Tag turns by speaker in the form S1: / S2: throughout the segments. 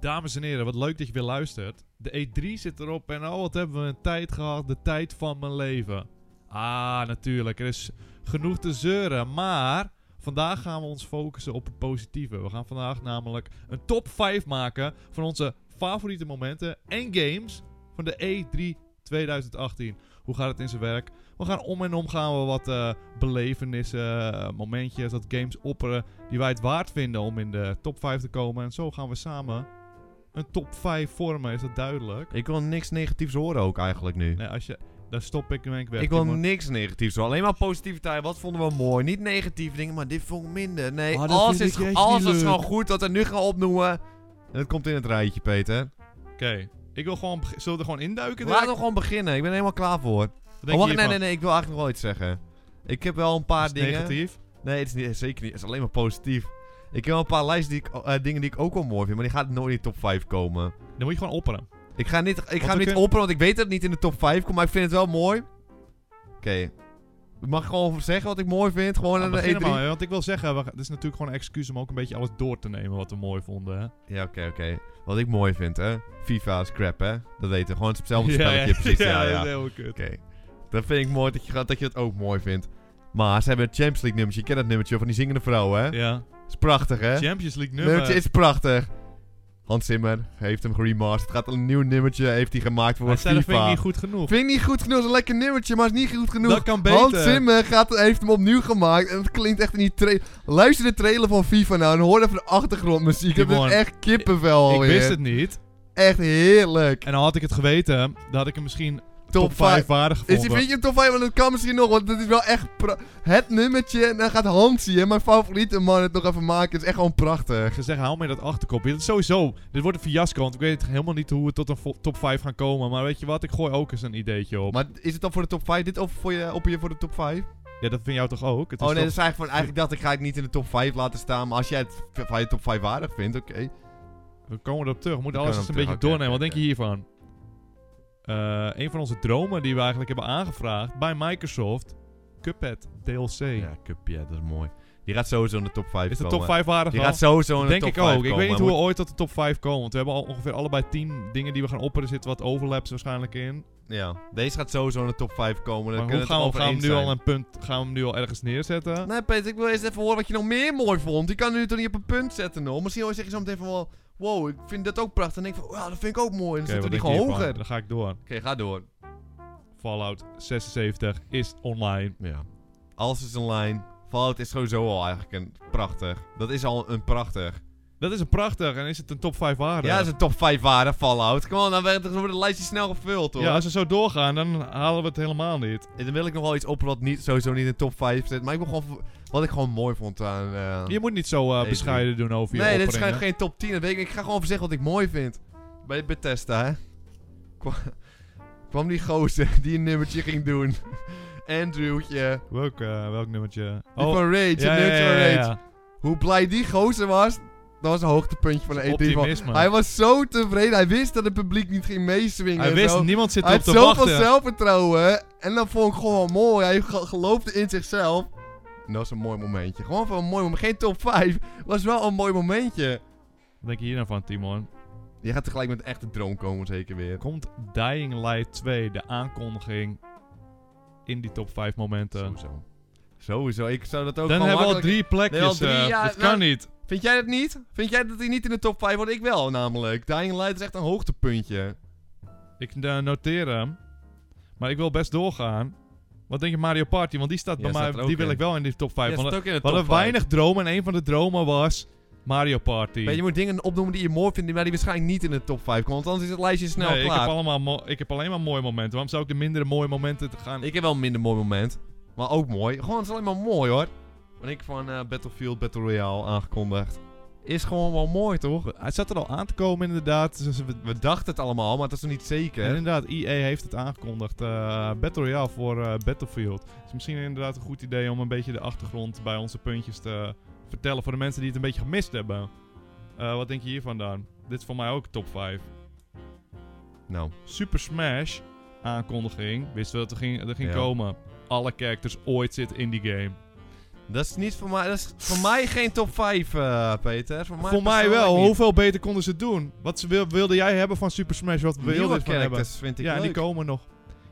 S1: Dames en heren, wat leuk dat je weer luistert. De E3 zit erop en oh, wat hebben we een tijd gehad. De tijd van mijn leven. Ah, natuurlijk. Er is genoeg te zeuren. Maar vandaag gaan we ons focussen op het positieve. We gaan vandaag namelijk een top 5 maken van onze favoriete momenten en games van de E E3 2018. Hoe gaat het in zijn werk? We gaan om en om gaan we wat eh, belevenissen, eh, momentjes, wat games opperen die wij het waard vinden om in de top 5 te komen. En zo gaan we samen een top 5 vormen, is dat duidelijk?
S2: Ik wil niks negatiefs horen ook eigenlijk nu.
S1: Nee, als je... Daar stop ik me weg.
S2: ik wil
S1: Je moet-
S2: niks negatiefs horen. Alleen maar positiviteit. Wat vonden we mooi? Niet negatieve dingen, maar dit vond ik minder. Nee,
S1: Ah, dat
S2: alles,
S1: vind ik
S2: is, ge-
S1: juist
S2: alles
S1: niet
S2: is gewoon
S1: leuk.
S2: goed dat we nu gaan opnoemen. En dat komt in het rijtje, Peter.
S1: Oké. Ik wil gewoon... beg- Zullen we er gewoon induiken?
S2: Laten we gewoon beginnen. Ik ben er helemaal klaar voor.
S1: Wat
S2: Oh,
S1: denk
S2: wacht,
S1: je
S2: nee,
S1: hiervan?
S2: nee, nee. Ik wil eigenlijk nog wel iets zeggen. Ik heb wel een paar
S1: Is het
S2: dingen.
S1: negatief?
S2: Nee, het is niet, zeker niet. Het is alleen maar positief. Ik heb wel een paar lijst die ik, eh, dingen die ik ook wel mooi vind, maar die gaat nooit in de top 5 komen.
S1: Dan moet je gewoon opperen.
S2: Ik ga, niet, ik
S1: we
S2: ga hem niet
S1: kunnen-
S2: opperen, want ik weet dat het niet in de top 5 komt, maar ik vind het wel mooi. Oké. Mag ik gewoon zeggen wat ik mooi vind? Gewoon
S1: Nou,
S2: aan de E
S1: begin
S2: E3?
S1: maar, hè, want ik wil zeggen, we, het is natuurlijk gewoon een excuus om ook een beetje alles door te nemen wat we mooi vonden. Hè?
S2: Ja, oké, oké. Wat ik mooi vind, hè. FIFA is crap, hè. Dat weten we. Gewoon hetzelfde
S1: Ja,
S2: spelletje, precies. Ja, ja.
S1: dat is
S2: Oké.
S1: heel kut.
S2: Dat vind ik mooi, dat je, gaat- dat je dat ook mooi vindt. Maar ze hebben het Champions League nummertje. Je kent dat nummertje van die zingende vrouw, hè.
S1: Ja.
S2: Is prachtig, hè.
S1: Champions League nummer.
S2: Nummertje is prachtig. Hans Zimmer heeft hem geremasterd. Het gaat een nieuw nummertje heeft hij gemaakt voor
S1: Hij zei,
S2: FIFA.
S1: dat vind ik niet goed genoeg.
S2: Vind ik niet goed genoeg. Het is een lekker nummertje, maar het is niet goed genoeg.
S1: Dat kan beter.
S2: Hans Zimmer gaat, heeft hem opnieuw gemaakt. En het klinkt echt in die trailer. Luister de trailer van FIFA nou en hoor even de achtergrondmuziek. Ik heb
S1: Timon,
S2: echt kippenvel
S1: ik
S2: alweer.
S1: wist het niet.
S2: Echt heerlijk.
S1: En al had ik het geweten, dan had ik hem misschien top 5
S2: vijf.
S1: waardig
S2: Is
S1: gevonden.
S2: die, vind je hem top 5? Want dat kan misschien nog, want dat is wel echt pra- het nummertje. En dan gaat Hansie, hè, mijn favoriete man, het nog even maken. Het is echt gewoon prachtig.
S1: gezegd, haal mij dat achterkopje. Dat is sowieso, dit wordt een fiasco, want ik weet helemaal niet hoe we tot een vo- top 5 gaan komen. Maar weet je wat, ik gooi ook eens een ideetje op.
S2: Maar is het dan voor de top 5? Dit of voor je, op je voor de top 5?
S1: Ja, dat vind jou toch ook? Het
S2: Oh
S1: is
S2: nee, dat
S1: toch-
S2: is eigenlijk van, eigenlijk dacht ik ga ik niet in de top 5 laten staan. Maar als jij het van je top 5 waardig vindt, oké.
S1: We komen erop terug. We moeten
S2: We
S1: alles eens
S2: komen
S1: een beetje
S2: erop terug,
S1: doornemen.
S2: oké,
S1: Wat denk je
S2: oké.
S1: hiervan? Eh, een van onze dromen die we eigenlijk hebben aangevraagd bij Microsoft. Cuphead DLC.
S2: Ja, Cupje, dat is mooi. Die gaat sowieso in de top 5
S1: Is de
S2: komen.
S1: top 5 waardig
S2: eh, Die
S1: al?
S2: gaat sowieso in de
S1: Denk
S2: top
S1: ik
S2: 5
S1: ook.
S2: komen.
S1: Ik weet niet
S2: maar
S1: hoe we
S2: moet-
S1: ooit tot de top 5 komen. Want we hebben al ongeveer allebei 10 dingen die we gaan opperen. Er zitten wat overlaps waarschijnlijk in.
S2: Ja, deze gaat sowieso in de top 5 komen. Dan
S1: Maar hoe
S2: kunnen
S1: gaan we,
S2: het
S1: gaan we hem
S2: over
S1: nu al
S2: eens zijn. Nou,
S1: een punt gaan we hem nu al ergens neerzetten?
S2: Nee Peter, ik wil eerst even horen wat je nog meer mooi vond. Die kan nu toch niet op een punt zetten nog. Misschien hoor je- zeg je zo meteen van wel... Wow, ik vind dat ook prachtig. En dan denk ik van, wow, dat vind ik ook mooi. En
S1: Oké,
S2: dan
S1: wat
S2: zetten we die
S1: denk je
S2: gewoon
S1: hiervan?
S2: hoger. Oké,
S1: Dan ga ik door.
S2: ga door.
S1: Fallout 76 is online.
S2: Ja. Alles is online. Fallout is sowieso al eigenlijk een prachtig. Dat is al een prachtig.
S1: Dat is een prachtig. En is het een top 5 waardig?
S2: Ja, dat is een top 5 waarde, Fallout. Kom on, dan werd- dan wordt het lijstje snel gevuld hoor.
S1: Ja, als we zo doorgaan, dan halen we het helemaal niet.
S2: En dan wil ik nog wel iets op wat niet, sowieso niet in de top 5 zit. Maar ik wil gewoon, v- wat ik gewoon mooi vond aan... eh,
S1: Je moet niet zo eh,
S2: Nee,
S1: bescheiden doen over je
S2: nee, dit is
S1: opperingen.
S2: geen, geen top 10. dat weet ik, ik ga gewoon even zeggen wat ik mooi vind. Bij Bethesda, hè. Kwa- kwam die gozer die een nummertje ging doen. Andrewtje.
S1: Welk, eh, welk nummertje?
S2: Die van Rage, het nummertje van Rage. Hoe blij die gozer was. Dat was een hoogtepuntje van de E3. van-
S1: Optimisme.
S2: Hij was zo tevreden. Hij wist dat het publiek niet ging meeswingen.
S1: Hij
S2: en
S1: wist,
S2: zo.
S1: niemand zit
S2: Hij
S1: op
S2: had
S1: te
S2: zoveel
S1: wachten.
S2: zelfvertrouwen. En dat vond ik gewoon wel mooi. Hij ge- geloofde in zichzelf. En dat was een mooi momentje. Gewoon van een mooi moment. Geen top 5. Was wel een mooi momentje.
S1: Wat denk je hier nou van, Timon?
S2: Je gaat tegelijk met een echte droom komen, zeker weer.
S1: Komt Dying Light 2, de aankondiging, in die top 5 momenten?
S2: Sowieso. eh, Sowieso. Ik zou dat ook
S1: Dan
S2: gewoon
S1: hebben we al
S2: makkelijk-
S1: drie plekjes.
S2: Nee, al drie,
S1: eh,
S2: ja,
S1: dat
S2: nou-
S1: kan niet.
S2: Vind jij dat niet? Vind jij dat hij niet in de top 5 wordt? Ik wel, namelijk. Dying Light is echt een hoogtepuntje.
S1: Ik eh, noteer hem. Maar ik wil best doorgaan. Wat denk je Mario Party? Want die staat
S2: Ja,
S1: bij
S2: staat
S1: mij.
S2: er
S1: Die
S2: ook
S1: wil
S2: in.
S1: ik wel in die top 5.
S2: Ja,
S1: want
S2: staat ook in de
S1: we
S2: top
S1: hadden
S2: 5.
S1: weinig dromen en een van de dromen was Mario Party.
S2: Weet je, je moet dingen opnoemen die je mooi vindt, maar die waarschijnlijk niet in de top 5 komen. Want anders is het lijstje snel
S1: nee, Ik
S2: klaar.
S1: heb, allemaal mo- ik heb alleen maar mooie momenten. Waarom zou ik de mindere mooie momenten te gaan...
S2: Ik heb wel een minder mooi moment. Maar ook mooi. Gewoon, het is alleen maar mooi hoor. Wat ik van eh, Battlefield Battle Royale aangekondigd. Is gewoon wel mooi toch?
S1: Hij zat er al aan te komen inderdaad. Dus we-
S2: We dachten het allemaal, maar het is nog niet zeker.
S1: en inderdaad, EA heeft het aangekondigd. eh Battle Royale voor eh, Battlefield. Het is misschien inderdaad een goed idee om een beetje de achtergrond bij onze puntjes te vertellen. Voor de mensen die het een beetje gemist hebben. Eh, wat denk je hiervan dan? Dit is voor mij ook top 5.
S2: Nou,
S1: Super Smash aankondiging. Wisten we dat er ging, er ging
S2: Ja.
S1: komen. Alle characters ooit zitten in die game.
S2: Dat is niet voor mij. Dat is voor mij geen top 5, eh, Peter. Voor mij,
S1: Voor mij
S2: persoonlijk
S1: wel.
S2: niet.
S1: Hoeveel beter konden ze het doen? Wat ze wil- wilde jij hebben van Super Smash? Wat wilde
S2: Nieuwe
S1: je van hebben?
S2: characters vind ik
S1: Ja, en
S2: leuk.
S1: die komen nog.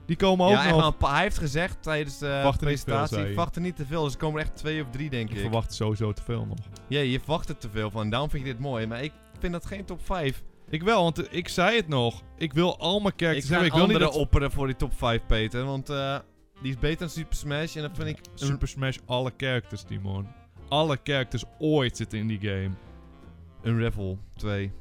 S1: Die komen ook
S2: ja, echt
S1: nog.
S2: wel een paar. Hij heeft gezegd tijdens de
S1: Wacht er niet te veel,
S2: presentatie,
S1: zei
S2: ik
S1: hij.
S2: wacht er niet te veel. Dus er komen er echt twee of drie, denk
S1: Ik
S2: ik.
S1: verwacht sowieso te veel nog.
S2: Ja, je verwacht er te veel van. Daarom vind ik dit mooi. Maar ik vind dat geen top 5.
S1: Ik wel, want eh, ik zei het nog. Ik wil al mijn
S2: Ik
S1: characters
S2: ga
S1: hebben.
S2: een
S1: Ik wil niet
S2: andere
S1: dat
S2: opperen voor die top 5, Peter. Want eh, die is beter dan Super Smash. En dat vind ik... een-
S1: Super Smash alle characters, Timon. Alle characters ooit zitten in die game.
S2: Unravel 2.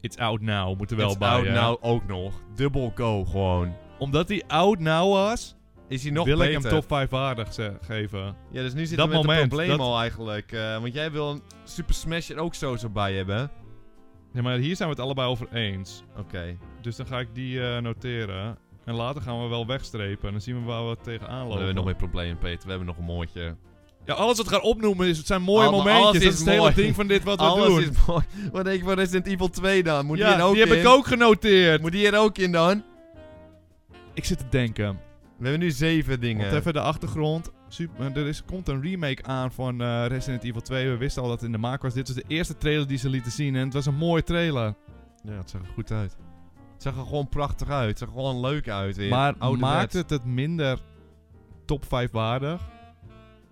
S1: It's out now, moet er wel
S2: It's
S1: bij.
S2: out
S1: hè.
S2: now ook nog. Dubbel go gewoon.
S1: Omdat hij out now was,
S2: Is hij nog
S1: wil
S2: beter?
S1: ik hem top 5 waardig ze- geven.
S2: Ja, dus nu zit
S1: Dat
S2: we met een
S1: moment,
S2: probleem
S1: dat-
S2: al eigenlijk. eh, want jij wil een Super Smash er ook zo zo bij hebben. hè?
S1: Ja, maar hier zijn we het allebei over eens.
S2: Oké.
S1: Dus dan ga ik die eh, noteren. En later gaan we wel wegstrepen. En dan zien we waar we tegenaan
S2: We
S1: lopen.
S2: hebben nog meer problemen, Peter. We hebben nog een mooitje.
S1: Ja, alles wat we gaan opnoemen is, het zijn mooie
S2: Alle-
S1: momentjes.
S2: alles
S1: dat
S2: is
S1: is het hele
S2: mooi.
S1: ding van dit wat we
S2: Alles
S1: doen.
S2: is mooi. Wat denk je van Resident Evil 2 dan? Moet
S1: ja,
S2: die er ook
S1: die
S2: in?
S1: heb ik ook genoteerd.
S2: Moet die er ook in dan?
S1: Ik zit te denken.
S2: We hebben nu zeven dingen.
S1: Want even de achtergrond. Super, er is, komt een remake aan van eh, Resident Evil 2. We wisten al dat het in de maak was. Dit was de eerste trailer die ze lieten zien. En het was een mooie trailer.
S2: Ja, het zag er goed uit. Het zag er gewoon prachtig uit. Het zag er gewoon leuk uit. weer.
S1: maar
S2: Ouderwets.
S1: maakt het het minder top 5 waardig?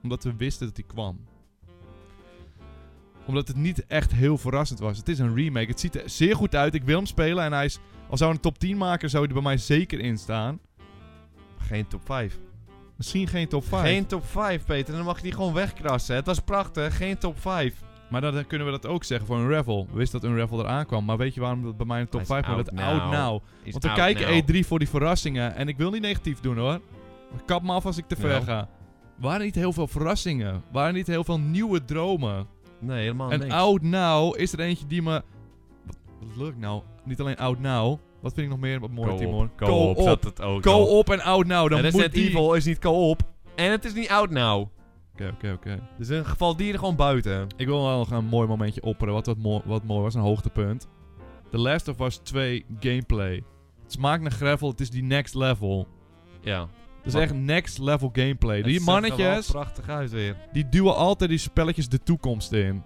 S1: Omdat we wisten dat die kwam. Omdat het niet echt heel verrassend was. Het is een remake. Het ziet er zeer goed uit. Ik wil hem spelen. En hij is, al zou hij een top 10 maken, zou hij er bij mij zeker in staan.
S2: Geen top 5.
S1: Misschien geen top 5.
S2: Geen top 5, Peter. Dan mag je die gewoon wegkrassen. Het was prachtig. Geen top 5.
S1: Maar dan, dan kunnen we dat ook zeggen voor Unravel. We wisten dat Unravel eraan kwam. Maar weet je waarom dat bij mij een top
S2: Hij
S1: 5
S2: is
S1: maar
S2: out
S1: Dat
S2: now.
S1: out now.
S2: Is
S1: Want E we
S2: out
S1: kijken
S2: now.
S1: E3 voor die verrassingen. En ik wil niet negatief doen hoor. Maar Kap me af als ik te ver
S2: Nou.
S1: ga. Waren niet heel veel verrassingen. Waren niet heel veel nieuwe dromen.
S2: Nee, helemaal
S1: en
S2: Oh, niks.
S1: Out Now is er eentje die me... Wat, wat leuk nou. Niet alleen Out Now. Wat vind ik nog meer wat mooi, Timon?
S2: Co-op zat het ook nog.
S1: Co-op en Out Now. Dan
S2: en
S1: moet
S2: Resident
S1: die...
S2: Evil is niet co-op. En het is niet out now.
S1: Oké, oké, oké.
S2: Dus in geval die er gewoon buiten.
S1: Ik wil wel nog een mooi momentje opperen. Wat, wat, mo- wat mooi was, een hoogtepunt. The Last of Us 2 gameplay. Het smaakt naar gravel, het is die next level.
S2: Ja.
S1: Het is
S2: Wat-
S1: echt next level gameplay.
S2: Het
S1: Die
S2: zag er wel
S1: mannetjes,
S2: prachtig uit weer.
S1: die duwen altijd die spelletjes de toekomst in.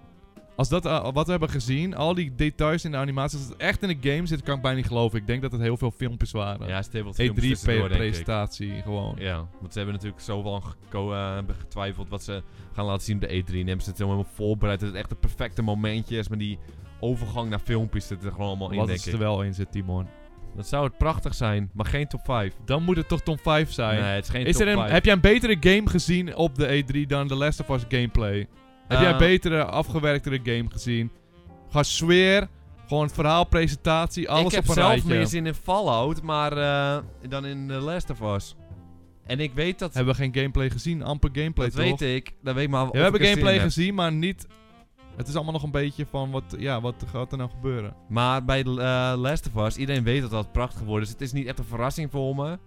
S1: Als dat eh, wat we hebben gezien, al die details in de animatie, als het echt in een game zit, kan ik bijna niet geloven. Ik denk dat het heel veel filmpjes waren.
S2: Ja, Stable
S1: E3
S2: tussendoor,
S1: pre-
S2: denk ik.
S1: presentatie gewoon.
S2: Ja, want ze hebben natuurlijk zo lang geko- eh, hebben getwijfeld wat ze gaan laten zien op de E3. En hebben ze het helemaal voorbereid. Dat het echt het perfecte momentje is. Maar die overgang naar filmpjes zit er gewoon allemaal in,
S1: Wat
S2: denk
S1: is
S2: ik.
S1: er wel in zit, Timon.
S2: Dan zou het prachtig zijn, maar geen top 5.
S1: Dan moet het toch Tom 5 zijn.
S2: Nee, het is geen
S1: Is
S2: top
S1: er een,
S2: 5.
S1: heb jij een betere game gezien op de E3 dan The Last of Us gameplay? heb jij een
S2: Eh,
S1: betere, afgewerktere game gezien? Ga sfeer, gewoon verhaal, presentatie, alles
S2: ik heb
S1: op een
S2: zelf
S1: rijtje.
S2: meer zin in Fallout, maar eh, dan in The Last of Us. En ik weet dat...
S1: Hebben we geen gameplay gezien? Amper gameplay,
S2: dat
S1: toch?
S2: weet ik. Dat weet ik maar
S1: Ja,
S2: of
S1: we hebben
S2: ik er zin
S1: gameplay
S2: in heb.
S1: gezien, maar niet... Het is allemaal nog een beetje van, wat, ja, wat gaat er nou gebeuren?
S2: Maar bij The Last of Us, iedereen weet dat dat prachtig wordt. Dus het is niet echt een verrassing voor me.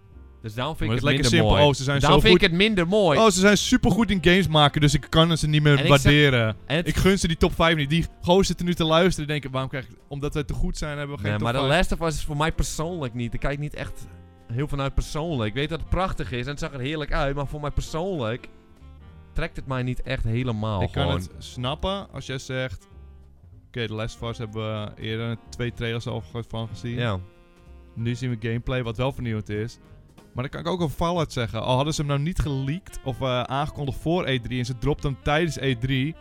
S2: Dus daarom vind
S1: Maar het is
S2: ik het
S1: lekker
S2: minder
S1: simpel.
S2: mooi.
S1: Oh, ze zijn
S2: daarom
S1: zo
S2: vind
S1: goed.
S2: ik het minder mooi.
S1: Oh, ze zijn supergoed in games maken, dus ik kan ze niet meer
S2: En ik zeg-
S1: waarderen.
S2: en het
S1: Ik gun ze die top 5 niet. Die gozer zitten nu te luisteren en denken, waarom krijg ik... Omdat wij te goed zijn, hebben we geen
S2: Nee,
S1: top
S2: maar The
S1: 5.
S2: Last of Us is voor mij persoonlijk niet. Ik kijk niet echt heel vanuit persoonlijk. Ik weet dat het prachtig is en het zag er heerlijk uit, maar voor mij persoonlijk trekt het mij niet echt helemaal.
S1: Ik kan
S2: gewoon.
S1: het snappen als jij zegt... Oké, de Last of Us hebben we eerder twee trailers al ge- van gezien.
S2: Ja.
S1: Nu zien we gameplay, wat wel vernieuwend is. Maar dan kan ik ook over Fallout zeggen. Al hadden ze hem nou niet geleakt of eh, aangekondigd voor E3 en ze dropt hem tijdens E3...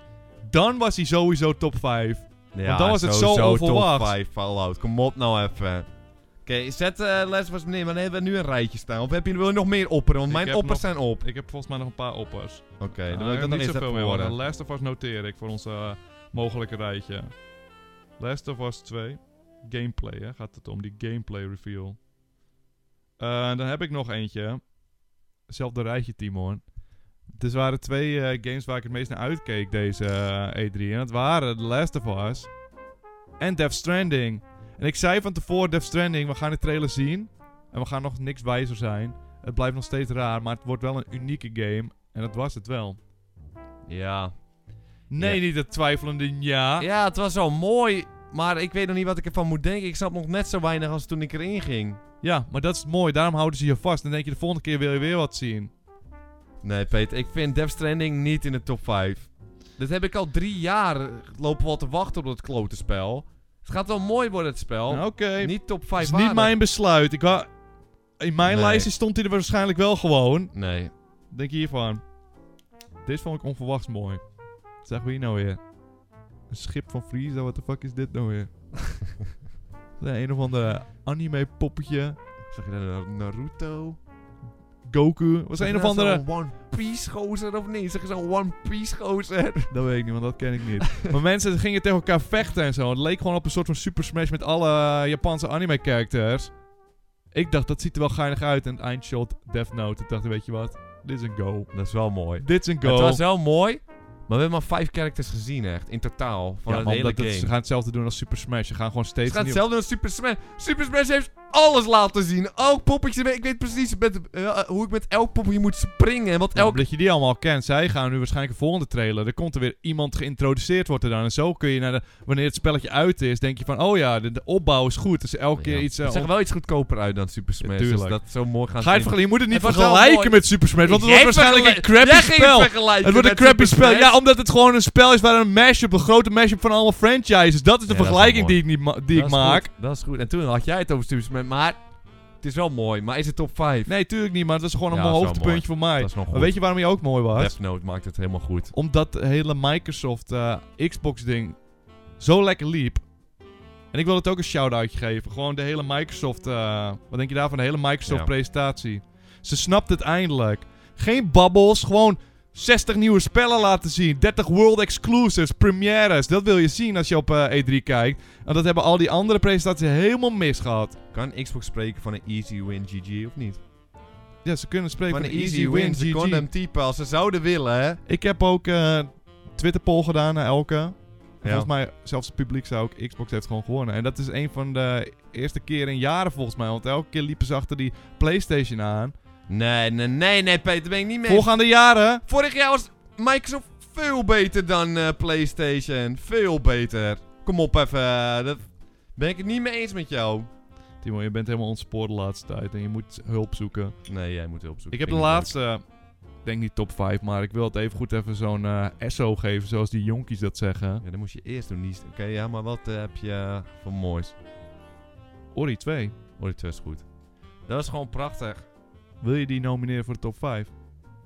S1: Dan was hij sowieso top 5.
S2: ja,
S1: dan was het zo onverwacht.
S2: Top 5 Fallout, kom op nou even. Oké, zet eh Last of Us neer, maar dan hebben we nu een rijtje staan. Of heb je, wil je nog meer opperen? Want
S1: Ik
S2: mijn
S1: heb
S2: oppers
S1: nog-
S2: zijn op.
S1: Ik heb volgens mij nog een paar oppers.
S2: Oké,
S1: Ah,
S2: dan wil ik
S1: ik
S2: dat
S1: heb
S2: nog
S1: niet
S2: eens
S1: zoveel
S2: even
S1: meer.
S2: horen.
S1: hoor. Last of Us noteer ik voor ons eh, mogelijke rijtje. Last of Us 2. Gameplay, hè? Gaat het om die gameplay reveal. Eh, dan heb ik nog eentje. Hetzelfde rijtje, Timon. Dus waren twee eh, games waar ik het meest naar uitkeek deze eh, E3. En dat waren The Last of Us en Death Stranding. En ik zei van tevoren Death Stranding, we gaan de trailer zien. En we gaan nog niks wijzer zijn. Het blijft nog steeds raar, maar het wordt wel een unieke game. En dat was het wel.
S2: Ja.
S1: Nee, niet het twijfelende ja.
S2: ja, het was wel mooi, maar ik weet nog niet wat ik ervan moet denken. Ik snap nog net zo weinig als toen ik erin ging.
S1: Ja, maar dat is mooi. Daarom houden ze je vast. Dan denk je de volgende keer wil je weer wat zien.
S2: Nee, Peter, ik vind Death Stranding niet in de top 5. Dit heb ik al drie jaar eh, lopen we al te wachten op dat klote spel. Het gaat wel mooi worden, het spel.
S1: Nou, Oké,
S2: Oh, Niet top 5
S1: het is niet mijn besluit. Ik wa- in mijn
S2: Nee.
S1: lijstje stond hij er waarschijnlijk wel gewoon.
S2: Nee.
S1: Denk hiervan. Dit vond ik onverwachts mooi. Wat zeggen we hier nou weer? Een schip van Frieza, what the fuck is dit nou weer? Nee, een of ander anime poppetje.
S2: Zeg je dan Na- Naruto?
S1: Goku. Was
S2: Zeg je
S1: een of
S2: dan
S1: andere...
S2: zo'n One Piece gozer of niet? Zeg je zo'n One Piece gozer?
S1: Dat weet ik niet, want dat ken ik niet. maar mensen gingen tegen elkaar vechten en zo. Het leek gewoon op een soort van Super Smash met alle eh, Japanse anime-characters. Ik dacht, dat ziet er wel geinig uit. En het eindshot, Death Note. Ik dacht, weet je wat? Dit is een go.
S2: Dat is wel mooi.
S1: Dit is een go.
S2: Het was wel mooi, maar we hebben maar vijf characters gezien echt. In totaal, van
S1: ja,
S2: het
S1: man,
S2: hele
S1: dat- dat-
S2: game.
S1: ze gaan hetzelfde doen als Super Smash. Ze gaan gewoon steeds
S2: Het gaat
S1: nieuw-
S2: hetzelfde doen als Super Smash. Super Smash heeft alles laten zien. Elk poppetje. Ik weet precies met, eh, hoe ik met elk poppetje moet springen. En wat
S1: Ja,
S2: elk...
S1: Omdat je die allemaal al kent. Zij gaan nu waarschijnlijk een volgende trailer. Er komt er weer iemand geïntroduceerd worden dan. En zo kun je naar de... Wanneer het spelletje uit is, denk je van... Oh ja, de, de opbouw is goed. Dus elke keer
S2: Ja.
S1: iets... eh,
S2: Ze zeggen
S1: on-
S2: wel iets goedkoper uit dan Super Smash. dus
S1: tuurlijk.
S2: dat is zo mooi gaan
S1: Ga je, het
S2: zien.
S1: vergelijken? je moet het niet
S2: Het was wel mooi.
S1: vergelijken met Super Smash. Want het
S2: Jij
S1: wordt waarschijnlijk een
S2: vergelijk-
S1: crappy
S2: Jij ging het
S1: spel.
S2: vergelijken
S1: Het wordt een
S2: met
S1: crappy
S2: Super
S1: spel.
S2: Smash.
S1: Ja, omdat het gewoon een spel is waar een mashup, een grote mashup van allemaal franchises. Dat is de
S2: Ja, dat is
S1: vergelijking
S2: wel
S1: die ik, niet ma- die ik
S2: Dat is
S1: maak.
S2: goed, Dat is goed. En toen had jij het over Super Smash. Maar het is wel mooi. Maar is het top 5?
S1: Nee, tuurlijk niet, maar dat is gewoon
S2: Ja,
S1: een
S2: dat is wel
S1: hoogtepuntje voor mij.
S2: Dat is nog goed.
S1: Maar weet je waarom je ook mooi was?
S2: Death Note maakt het helemaal goed.
S1: Omdat de hele Microsoft eh, Xbox-ding zo lekker liep. En ik wil het ook een shout-outje geven. Gewoon de hele Microsoft. eh, wat denk je daarvan? De hele
S2: Ja.
S1: Microsoft-presentatie. Ze snapt het eindelijk. Geen babbels, gewoon 60 nieuwe spellen laten zien. 30 world exclusives, premières. Dat wil je zien als je op eh, E3 kijkt. En dat hebben al die andere presentaties helemaal misgehad.
S2: Kan Xbox spreken van een easy win GG of niet?
S1: Ja, ze kunnen spreken
S2: Van
S1: van, een easy win.
S2: Ze
S1: GG.
S2: konden hem typen als ze zouden willen, hè?
S1: Ik heb ook eh Twitter poll gedaan naar elke. En Volgens mij, zelfs het publiek zei ook, Xbox heeft gewoon gewonnen. En dat is een van de eerste keren in jaren volgens mij. Want elke keer liepen ze achter die PlayStation aan.
S2: Nee, nee, nee, nee, Peter, ben ik niet mee.
S1: Voorgaande jaren.
S2: Vorig jaar was Microsoft veel beter dan eh, PlayStation. Veel beter. Kom op even. eh, Dat ben ik het niet mee eens met jou.
S1: Timo, je bent helemaal ontspoord de laatste tijd. En je moet hulp zoeken.
S2: Nee, jij moet hulp zoeken.
S1: Ik heb de
S2: moet
S1: laatste, ik denk niet top 5, maar ik wil het even goed even zo'n eh, SO geven. Zoals die jonkies dat zeggen.
S2: hulp. Ja, dan moest je eerst doen. niet- Oké, ja, maar wat eh, heb je voor moois?
S1: Ori 2,
S2: Hoor het is goed. Dat is gewoon prachtig.
S1: wil je die nomineren voor de top 5?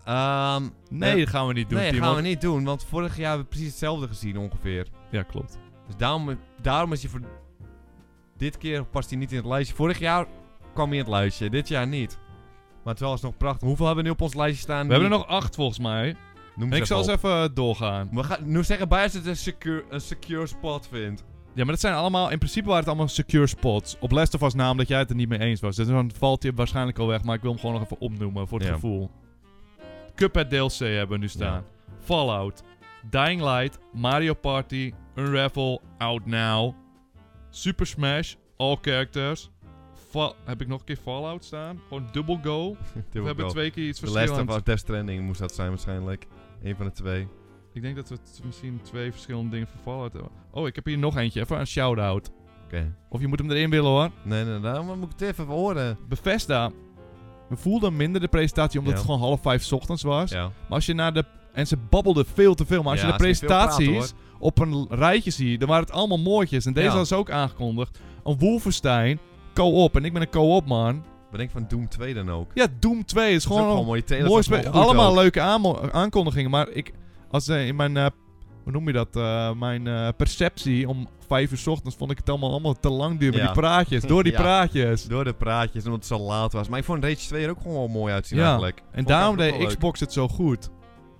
S2: Ehm,
S1: Nee,
S2: Eh,
S1: dat gaan we niet doen,
S2: nee,
S1: Timo.
S2: gaan we niet doen, want vorig jaar hebben we precies hetzelfde gezien ongeveer.
S1: Ja, klopt.
S2: Dus daarom, daarom is hij voor... Dit keer past hij niet in het lijstje. Vorig jaar kwam hij in het lijstje, dit jaar niet. Maar het is wel alsnog prachtig. Hoeveel hebben we nu op ons lijstje staan?
S1: We hebben er nog 8 volgens mij.
S2: Noem
S1: En
S2: ze
S1: ik zal eens
S2: even...
S1: even doorgaan.
S2: op. We gaan nu zeggen bij als het een secure, een secure spot vindt.
S1: Ja, maar dat zijn allemaal, in principe waren het allemaal secure spots. Op Last of Us naam dat jij het er niet mee eens was. Dus dan valt hij waarschijnlijk al weg, maar ik wil hem gewoon nog even opnoemen voor het
S2: Ja.
S1: gevoel. Cuphead DLC hebben we nu staan. Fallout, Dying Light, Mario Party, Unravel, Out Now, Super Smash, All Characters. Fa- heb ik nog een keer Fallout staan? Gewoon dubbel go. We hebben twee keer iets
S2: De Last of
S1: verschillends.
S2: Us Death Stranding moest dat zijn waarschijnlijk. Eén van de twee.
S1: Ik denk dat we t- misschien twee verschillende dingen voor Fallout hebben. Oh, ik heb hier nog eentje. Even een shout-out.
S2: Oké.
S1: Of je moet hem erin willen hoor.
S2: Nee, nee, daarom moet ik het even horen.
S1: Bethesda. We voelden minder de presentatie omdat
S2: Ja.
S1: het gewoon half vijf 's ochtends was.
S2: Ja.
S1: Maar als je naar de. En ze babbelden veel te veel. Maar als
S2: Ja,
S1: je de
S2: ze kunnen veel praten,
S1: presentaties op een l- rijtje ziet, dan waren het allemaal mooitjes. En deze
S2: Ja.
S1: was ook aangekondigd. Een Wolfenstein. Co-op. En ik ben een co-op man.
S2: Wat denk ik van Doom 2 dan ook?
S1: Ja, Doom 2 is
S2: Dat is ook
S1: gewoon
S2: gewoon
S1: een
S2: mooie trailers.
S1: mooi
S2: dat is
S1: spel.
S2: wel goed
S1: Allemaal
S2: ook.
S1: leuke aanmo- aankondigingen. Maar ik. Als eh, in mijn. eh, hoe noem je dat? eh, mijn eh, perceptie om vijf uur 's ochtends vond ik het allemaal, allemaal te lang duren.
S2: Ja.
S1: Met die praatjes. Door die
S2: Ja.
S1: praatjes.
S2: Door de praatjes, omdat het zo laat was. Maar ik vond Rage 2 er ook gewoon wel mooi uitzien
S1: Ja.
S2: eigenlijk.
S1: En
S2: Vond
S1: daarom
S2: ik eigenlijk
S1: deed
S2: wel leuk.
S1: Xbox het zo goed.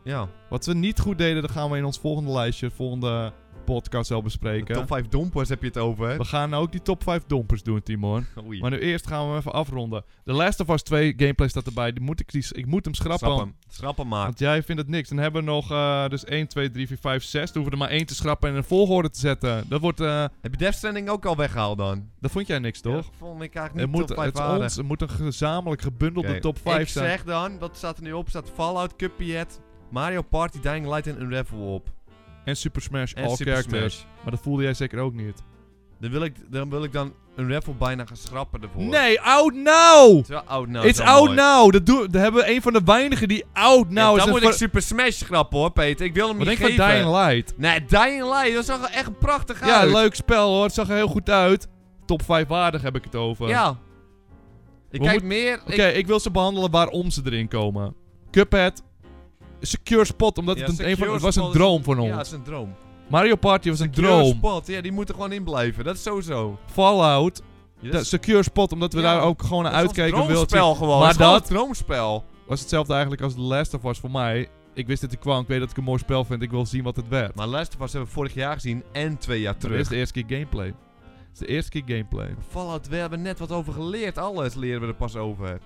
S2: Ja.
S1: Wat we niet goed deden, dat gaan we in ons volgende lijstje, volgende podcast wel
S2: De
S1: bespreken.
S2: top 5 dompers heb je het over.
S1: We gaan ook die top 5 dompers doen, Timon.
S2: Oei.
S1: Maar nu eerst gaan we hem even afronden. De Last of Us 2 gameplay staat erbij. Die moet ik, die, ik moet hem schrappen.
S2: Schrap hem. Schrap hem maar.
S1: Want jij vindt het niks. Dan hebben we nog eh, dus 1, 2, 3, 4, 5, 6. Dan hoeven we er maar één te schrappen en in een volgorde te zetten. Dat, wordt, eh,
S2: Heb je Death Stranding ook al weggehaald dan?
S1: dat vond jij niks,
S2: Ja,
S1: toch?
S2: dat vond ik eigenlijk
S1: het,
S2: niet
S1: moet,
S2: top 5
S1: het, is
S2: waardig.
S1: ons, het moet een gezamenlijk gebundelde
S2: Oké,
S1: top 5
S2: Ik
S1: zijn.
S2: zeg dan, wat staat er nu op? Staat Fallout, Cuphead, Mario Party, Dying Light en Unravel op.
S1: En Super Smash,
S2: En
S1: all
S2: Super
S1: characters.
S2: Smash.
S1: Maar dat voelde jij zeker ook niet.
S2: Dan wil, ik, dan wil ik dan een raffle bijna gaan schrappen ervoor.
S1: Nee, out now!
S2: Terwijl Out Now
S1: It's
S2: zo
S1: out
S2: mooi.
S1: now! Dat, doe, dat hebben we een van de weinigen die out
S2: Ja,
S1: now is.
S2: dan
S1: En
S2: moet
S1: voor-
S2: ik Super Smash schrappen hoor, Peter. Ik wil hem
S1: Wat
S2: niet
S1: denk je van
S2: geven.
S1: Dying Light?
S2: Nee, Dying Light, dat zag er echt prachtig
S1: Ja,
S2: uit.
S1: leuk spel hoor. Het zag er heel goed uit. Top 5 waardig heb ik het over.
S2: Ja. Ik
S1: We
S2: kijk
S1: moeten-
S2: meer... ik-
S1: Oké, ik... wil ze behandelen waarom ze erin komen. Cuphead. Secure Spot, omdat
S2: Ja,
S1: het, een, een
S2: Secure
S1: van, het was een
S2: Spot is-
S1: droom van ons.
S2: Ja, dat is een droom.
S1: Mario Party was een
S2: Secure
S1: droom.
S2: Spot, ja, die moeten gewoon in blijven. Dat is sowieso.
S1: Fallout.
S2: Ja,
S1: de
S2: dat is-
S1: Secure Spot, omdat we
S2: Ja,
S1: daar ook gewoon naar
S2: dat is ons
S1: uitkeken. wilden.
S2: droomspel
S1: Maar
S2: gewoon. Maar dat...
S1: dat-
S2: is gewoon een droomspel.
S1: was hetzelfde eigenlijk als The Last of Us voor mij. Ik wist dat hij kwam, ik weet dat ik een mooi spel vind, ik wil zien wat het werd.
S2: Maar Last of Us hebben we vorig jaar gezien en twee jaar
S1: Maar dit is
S2: terug.
S1: de eerste keer gameplay. Het is de eerste keer gameplay.
S2: Fallout, we hebben net wat over geleerd. Alles leren we er pas over.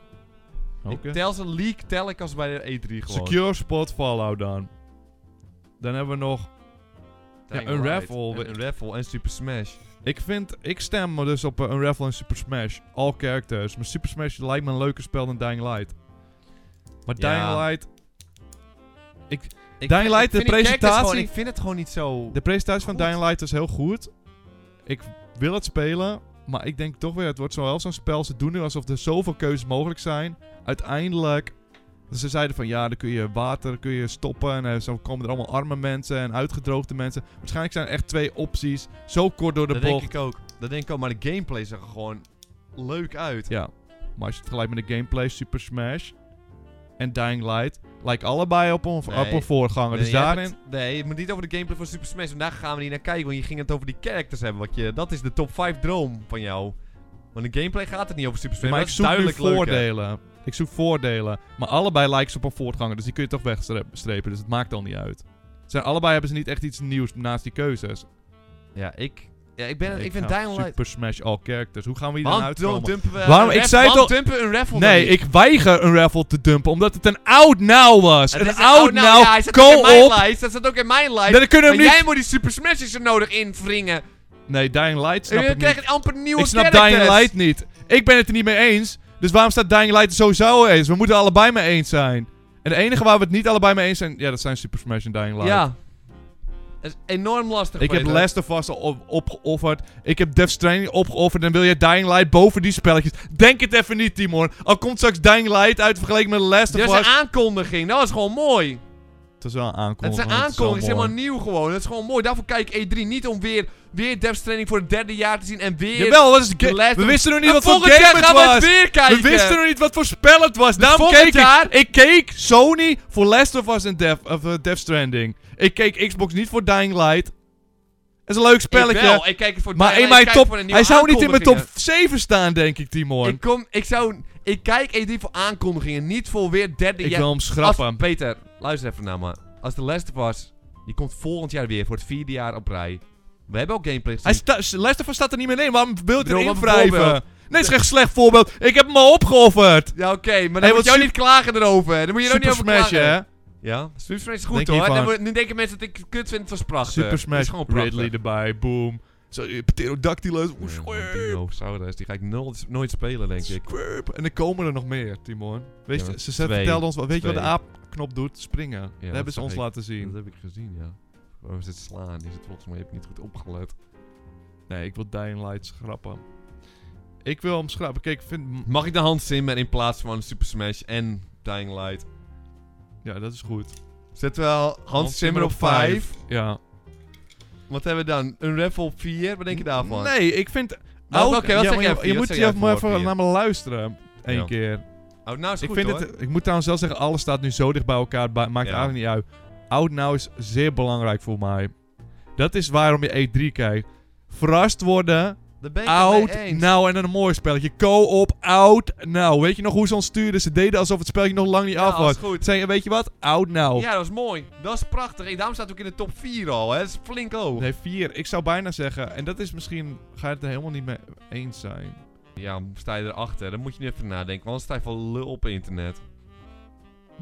S1: Oké.
S2: Ik tel zijn leak, tel ik als bij de E3 gewoon.
S1: Secure Spot Fallout dan. Dan hebben we nog...
S2: Dying
S1: Ja, een
S2: Light.
S1: raffle.
S2: En Een raffle en Super Smash.
S1: Ik vind... Ik stem me dus op een Unravel en Super Smash. All characters. Maar Super Smash lijkt me een leuker spel dan Dying Light. Maar Dying
S2: Ja.
S1: Light...
S2: Ik
S1: Dying
S2: vind-
S1: Light, de
S2: ik vind die characters
S1: presentatie-
S2: gewoon- Ik vind het gewoon niet zo...
S1: De presentatie van
S2: Goed.
S1: Dying Light is heel goed. Ik wil het spelen. Maar ik denk toch weer, het wordt zo wel zo'n spel. Ze doen nu alsof er zoveel keuzes mogelijk zijn. Uiteindelijk... Ze zeiden van ja, dan kun je water kun je stoppen. En eh, zo komen er allemaal arme mensen en uitgedroogde mensen. Waarschijnlijk zijn er echt twee opties. Zo kort door de
S2: dat
S1: bocht.
S2: denk ik ook. Dat denk ik ook, maar de gameplay zag er gewoon leuk uit.
S1: Ja, maar als je het vergelijkt met de gameplay, Super Smash en Dying Light, lijken allebei op een,
S2: Nee.
S1: op een voorganger.
S2: Nee,
S1: dus
S2: je hebt
S1: daarin.
S2: het- nee, je moet niet over de gameplay van Super Smash. Vandaag gaan we niet naar kijken, want je ging het over die characters hebben. Wat je, dat is de top 5 droom van jou. Want de gameplay gaat het niet over Super Smash.
S1: maar ik
S2: dat is
S1: zoek nu
S2: duidelijk leuker.
S1: voordelen. Ik zoek voordelen. Maar allebei lijken ze op een voortganger, dus die kun je toch wegstrepen. Dus het maakt al niet uit. Zijn, allebei hebben ze niet echt iets nieuws naast die keuzes.
S2: Ja, ik, ja, ik, ben,
S1: Nee,
S2: ik, vind
S1: ga
S2: Dying Light...
S1: Super Smash All Characters. Hoe gaan we hier dan
S2: Waarom dum-
S1: uitkomen?
S2: dumpen we
S1: Waarom-
S2: een
S1: ik
S2: raff-
S1: zei
S2: waarom
S1: toch-
S2: dumpen we een raffle
S1: Nee,
S2: dan
S1: ik weiger een raffle te dumpen, omdat het een out now was.
S2: Het
S1: Een
S2: is
S1: out
S2: oude- ja, hij
S1: now,
S2: staat ook in mijn
S1: co-op.
S2: lijst. Dat staat ook in mijn lijst.
S1: Dan kunnen we
S2: maar
S1: hem niet...
S2: jij moet die Super Smashes er nodig invringen.
S1: Nee, Dying Light snap
S2: Je
S1: ik niet.
S2: krijgt amper nieuwe
S1: Ik snap
S2: characters.
S1: Dying Light niet. Ik ben het er niet mee eens. Dus waarom staat Dying Light er sowieso eens? We moeten allebei mee eens zijn. En de enige waar we het niet allebei mee eens zijn... Ja, dat zijn Super Smash en Dying Light.
S2: Ja. Dat is enorm lastig.
S1: Ik heb
S2: Peter.
S1: Last of Us al op- opgeofferd. Ik heb Death Stranding opgeofferd. En wil jij Dying Light boven die spelletjes? Denk het even niet, Timon. Al komt straks Dying Light uit vergeleken met Last of
S2: Dat is
S1: Us.
S2: een aankondiging. Dat was gewoon mooi.
S1: Het is wel een
S2: Het is
S1: aankondiging.
S2: een
S1: maar wel
S2: aankondiging. Het is helemaal
S1: mooi.
S2: nieuw gewoon. Dat is gewoon mooi. Daarvoor kijk ik E3 niet om weer, weer Death Stranding voor het derde jaar te zien. En weer...
S1: Jawel, wat is het
S2: The Last
S1: We
S2: of-
S1: wisten nog niet
S2: En
S1: wat voor
S2: volgend jaar
S1: game het
S2: gaan we het
S1: was.
S2: weer kijken.
S1: We wisten nog niet wat voor spel het was. Daarom
S2: volgend
S1: keek ik.
S2: jaar-
S1: Ik keek Sony voor Last of Us en Death, of, eh, Death Stranding. Ik keek Xbox niet voor Dying Light. Het is een leuk
S2: Ik
S1: spelletje.
S2: wel. Ik kijk het voor
S1: maar
S2: Dying
S1: in
S2: Light,
S1: mijn
S2: ik kijk
S1: top...
S2: voor een nieuwe
S1: Hij zou niet in mijn top
S2: aankondigingen.
S1: 7 staan, denk ik, Timon.
S2: Ik,
S1: Ik,
S2: kom, ik zou... Ik kijk E3 voor aankondigingen. Niet voor weer derde jaar...
S1: wil hem schrappen.
S2: Als, Peter, luister even naar me. Als de Last of Us... Die komt volgend jaar weer voor het vierde jaar op rij. We hebben ook gameplay gezien.
S1: Hij sta, Last of Us staat er niet meer in. Waarom wil je het
S2: Bro,
S1: erin
S2: wat een
S1: wrijven?
S2: voorbeeld.
S1: Nee, het is echt een slecht voorbeeld. Ik heb hem al opgeofferd.
S2: Ja, oké, maar dan
S1: Hey,
S2: moet
S1: wat
S2: je ook
S1: su-
S2: niet klagen erover. Dan moet je er ook niet
S1: Super
S2: over
S1: Smash,
S2: klagen.
S1: hè?
S2: Ja, Super Smash is goed
S1: Denk
S2: hoor.
S1: hiervan.
S2: Dan moet- nu denken mensen dat ik het kut vind, het was prachtig.
S1: Super
S2: Het
S1: Smash.
S2: eh, is gewoon prachtig.
S1: Ridley erbij. Boom. Zo, eh, Pterodactylus.
S2: Ja, Dinosaurus, die ga ik nul- nooit spelen, denk ik.
S1: Squirp. En er komen er nog meer, Timon. Weet
S2: Ja,
S1: je, ze ze
S2: twee.
S1: vertelden ons, wel- weet je wat de
S2: Twee.
S1: aapknop doet? Springen. dat
S2: dat
S1: hebben ze
S2: zag
S1: ons
S2: ik.
S1: laten
S2: Dat
S1: zien.
S2: heb ik gezien, ja. Waarom is het slaan? Is het volgens mij, je hebt niet goed opgelet.
S1: Nee, ik wil Dying Light schrappen. Ik wil hem schrappen. Kijk, ik vind...
S2: Mag ik de hand Zimmer in plaats van Super Smash en Dying Light?
S1: Ja, dat is goed.
S2: Zet wel Hans Zimmer op 5.
S1: Ja.
S2: Wat hebben we dan? Een raffle op 4? Wat denk je daarvan?
S1: Nee, ik vind...
S2: Nou, oké, wat zeg
S1: maar
S2: jij
S1: je-
S2: voor-
S1: Je
S2: wat
S1: moet
S2: zeg
S1: je
S2: jij
S1: even maar
S2: voor
S1: even
S2: hier?
S1: naar me luisteren. Eén
S2: Ja.
S1: keer.
S2: Oh, nou is
S1: ik,
S2: goed
S1: vind
S2: hoor.
S1: het, ik moet trouwens zelf zeggen, alles staat nu zo dicht bij elkaar. Het ba- maakt
S2: Ja.
S1: eigenlijk niet uit. Out Now is zeer belangrijk voor mij. Dat is waarom je E3 kijkt. Verrast worden.
S2: Daar ben ik het mee
S1: Out
S2: eens.
S1: Now. En dan een mooi spelletje. Co-op. Out Now. Weet je nog hoe ze ons stuurden? Ze deden alsof het spelletje nog lang niet
S2: Ja,
S1: af was.
S2: is goed.
S1: Zei je, weet je wat? Out Now.
S2: Ja, dat is mooi. Dat is prachtig. Hey, daarom staat ook in de top 4 al. Hè? Dat is flink hoog.
S1: Nee, vier. Ik zou bijna zeggen, en dat is misschien, ga je het er helemaal niet mee eens zijn.
S2: Ja, sta je erachter? Dan moet je nu even nadenken. Want anders sta je van lul op internet.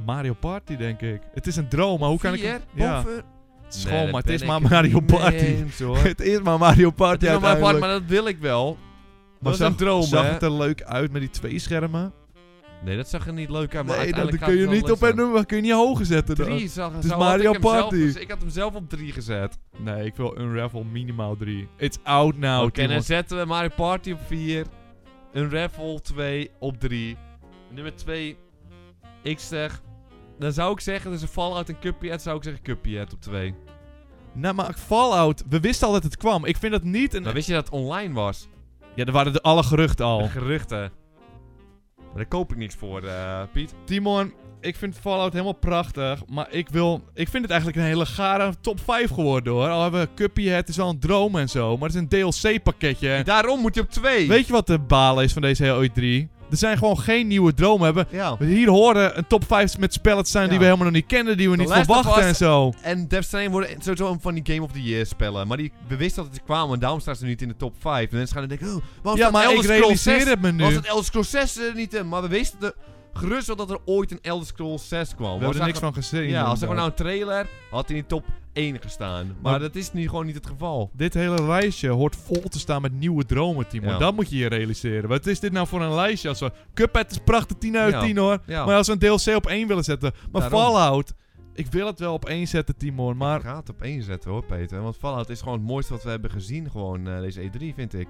S1: Mario Party, denk ik. Het is een droom, maar hoe kan ik...
S2: Vier?
S1: hem- Ja,
S2: Boven?
S1: het
S2: Nee,
S1: is gewoon,
S2: daar
S1: maar het is
S2: ben
S1: maar
S2: ik het
S1: Mario
S2: niet mee
S1: Party.
S2: eens, hoor.
S1: Het is maar Mario
S2: Het
S1: Party
S2: is wel mijn part,
S1: uiteindelijk.
S2: maar dat wil ik wel.
S1: Maar
S2: dat is een droom,
S1: zag
S2: hè?
S1: het er leuk uit met die twee schermen?
S2: Nee, dat zag er niet leuk uit, maar
S1: nee, dat
S2: uiteindelijk
S1: kun je
S2: gaat het
S1: niet
S2: wel
S1: op een
S2: leuk
S1: nummer kun je niet hoger zetten.
S2: zijn.
S1: dan.
S2: Drie zag
S1: is
S2: zo had
S1: Mario
S2: ik hem zelf
S1: Party.
S2: gez- ik had hem zelf op drie gezet.
S1: Nee, ik wil Unravel minimaal 3. It's out now,
S2: Oké, dan
S1: Timon.
S2: zetten we Mario Party op 4. Een raffle 2 op 3. Nummer 2. Ik zeg. Dan zou ik zeggen, dus een Fallout en Cuphead. Zou ik zeggen Cuphead op 2.
S1: Nou, maar Fallout, we wisten al dat het kwam. Ik vind dat niet een...
S2: Maar wist je dat het online was?
S1: Ja, er waren de alle geruchten
S2: De
S1: al.
S2: geruchten. Maar daar koop ik niks voor, eh, Piet.
S1: Timon, ik vind Fallout helemaal prachtig. Maar ik wil... Ik vind het eigenlijk een hele gare top 5 geworden, hoor. Al hebben we Cuphead, het is wel een droom en zo. Maar het is een DLC-pakketje.
S2: Daarom moet je op 2.
S1: Weet je wat de balen is van deze hele E3? Er zijn gewoon geen nieuwe dromen hebben.
S2: Ja.
S1: Hier horen een top 5 met spellen te zijn die
S2: Ja.
S1: we helemaal nog niet kennen, die we
S2: The
S1: niet
S2: Last of
S1: verwachten
S2: Us-
S1: en zo.
S2: En Death Stranding worden sowieso een van die Game of the Year spellen. Maar die, we wisten dat het kwamen en daarom staan ze nu niet in de top 5. En mensen gaan dan denken, oh, waarom
S1: Ja,
S2: staat
S1: maar ik
S2: Elder Scrolls 6
S1: realiseer het me nu.
S2: Was het Elder Scrolls 6 er niet in? Maar we wisten de, gerust wel dat er ooit een Elder Scrolls 6 kwam.
S1: We
S2: Was
S1: hebben er niks
S2: eigenlijk-
S1: van gezien.
S2: Ja, als er
S1: inderdaad.
S2: gewoon nou een trailer had hij in de top 1 gestaan. Maar,
S1: Maar-
S2: dat is nu gewoon niet het geval.
S1: Dit hele lijstje hoort vol te staan met nieuwe dromen, Timon.
S2: Ja.
S1: Dat moet je je realiseren. Wat is dit nou voor een lijstje? Als we... Cuphead is prachtig, 10 uit
S2: Ja.
S1: 10 hoor.
S2: Ja,
S1: Maar als we een DLC op 1 willen zetten. Maar
S2: Daarom.
S1: Fallout, ik wil het wel op 1 zetten, Timon. Maar
S2: Ik ga het op één zetten hoor, Peter. Want Fallout is gewoon het mooiste wat we hebben gezien. Gewoon eh, deze E3, vind ik.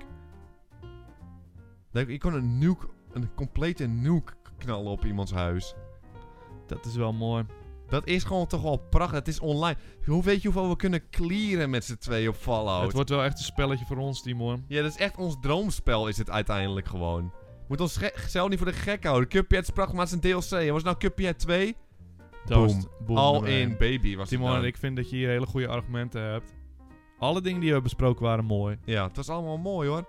S2: Leuk, ik kon een nuke, een complete nuke knallen op iemands huis.
S1: dat is wel mooi.
S2: Dat is gewoon toch wel prachtig. Het is online. Hoe weet je hoeveel we kunnen clearen met z'n twee op Fallout?
S1: Het wordt wel echt een spelletje voor ons, Timon.
S2: Ja, dat is echt ons droomspel is het uiteindelijk gewoon. Moet ons ge- zelf niet voor de gek houden. Cuphead is prachtig, maar het is een DLC. En was het nou Cuphead 2?
S1: Toast. Boom.
S2: All
S1: nummer één.
S2: in baby was het
S1: Timon,
S2: dan.
S1: ik vind dat je hier hele goede argumenten hebt. Alle dingen die we hebben besproken waren mooi.
S2: Ja, het was allemaal mooi hoor.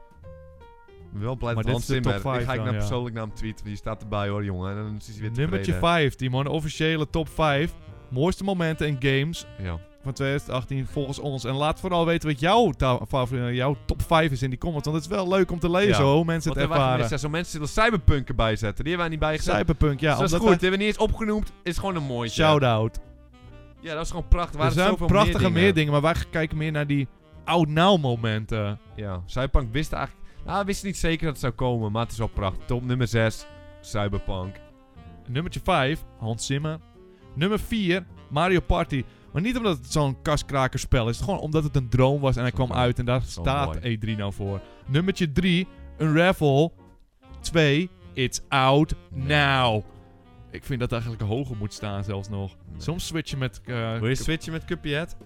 S2: Ik ben Wel blij
S1: Maar
S2: dat Hans
S1: dit is de
S2: Zimmer.
S1: top
S2: ik
S1: vijf
S2: ga ik
S1: dan,
S2: nou
S1: ja.
S2: persoonlijk naar hem tweeten. Die staat erbij hoor, jongen. En dan is hij weer
S1: Nummertje
S2: tevreden.
S1: 5, Timon. De officiële top 5. Mooiste momenten en games
S2: Ja.
S1: van 2018 volgens ons. En laat vooral weten wat jouw, ta- favori- eh, jouw top 5 is in die comments. Want het is wel leuk om te lezen
S2: Ja.
S1: hoe mensen
S2: Want
S1: het
S2: er waren
S1: ervaren.
S2: mensen, zo'n mensen zullen Cyberpunk erbij zetten. Die hebben wij niet bijgezet.
S1: Cyberpunk, ja.
S2: dus dat is
S1: omdat
S2: goed. Die
S1: wij-
S2: hebben we niet eens opgenoemd. Is gewoon een mooie.
S1: Shout-out.
S2: Ja, dat is gewoon prachtig.
S1: Er
S2: waren
S1: zijn
S2: zoveel
S1: prachtige
S2: meer dingen.
S1: meer dingen, maar wij kijken meer naar die oud-now momenten.
S2: Ja, Cyberpunk wist eigenlijk... Nou, we wisten niet zeker dat het zou komen, maar het is wel prachtig. Top nummer 6, Cyberpunk.
S1: Nummertje 5, Hans Zimmer. Nummer 4, Mario Party. Maar niet omdat het zo'n kaskrakerspel is. Gewoon omdat het een droom was en hij
S2: Dat is
S1: kwam
S2: wel-
S1: uit. En daar
S2: is wel
S1: staat E3 nou voor. Nummertje 3, Unravel. 2, It's Out Now. Ik vind dat eigenlijk hoger moet staan zelfs nog. Soms switchen met... eh,
S2: Wil je switchen met Cuphead?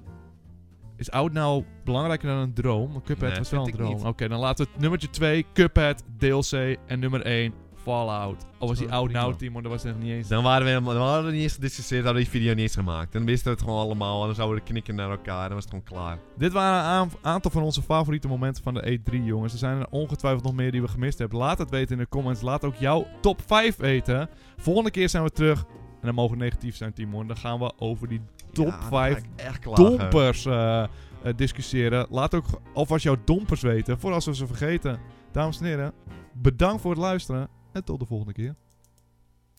S1: is Out Now belangrijker dan een droom? Want Cuphead
S2: Nee,
S1: was wel een
S2: vind ik
S1: droom.
S2: niet.
S1: Oké, dan laten we het nummertje 2, Cuphead, DLC. En nummer 1, Fallout. Al was die
S2: wel
S1: Out Now,
S2: prima.
S1: Timon, dat was echt niet eens...
S2: Dan waren we helemaal... Dan hadden we niet eens gediscussieerd, hadden we die video niet eens gemaakt. Dan wisten we het gewoon allemaal en dan zouden we knikken naar elkaar en dan was het gewoon klaar.
S1: Dit waren een aanv- aantal van onze favoriete momenten van de E3, jongens. Er zijn er ongetwijfeld nog meer die we gemist hebben. Laat het weten in de comments. Laat ook jouw top 5 weten. Volgende keer zijn we terug. En dan mogen we negatief zijn, Timon. Dan gaan we over die Top
S2: Ja, dan
S1: vijf
S2: ga ik echt klaar.
S1: dompers eh, eh, discussiëren. Laat ook alvast jouw dompers weten, voor als we ze vergeten. Dames en heren, bedankt voor het luisteren. En tot de volgende keer.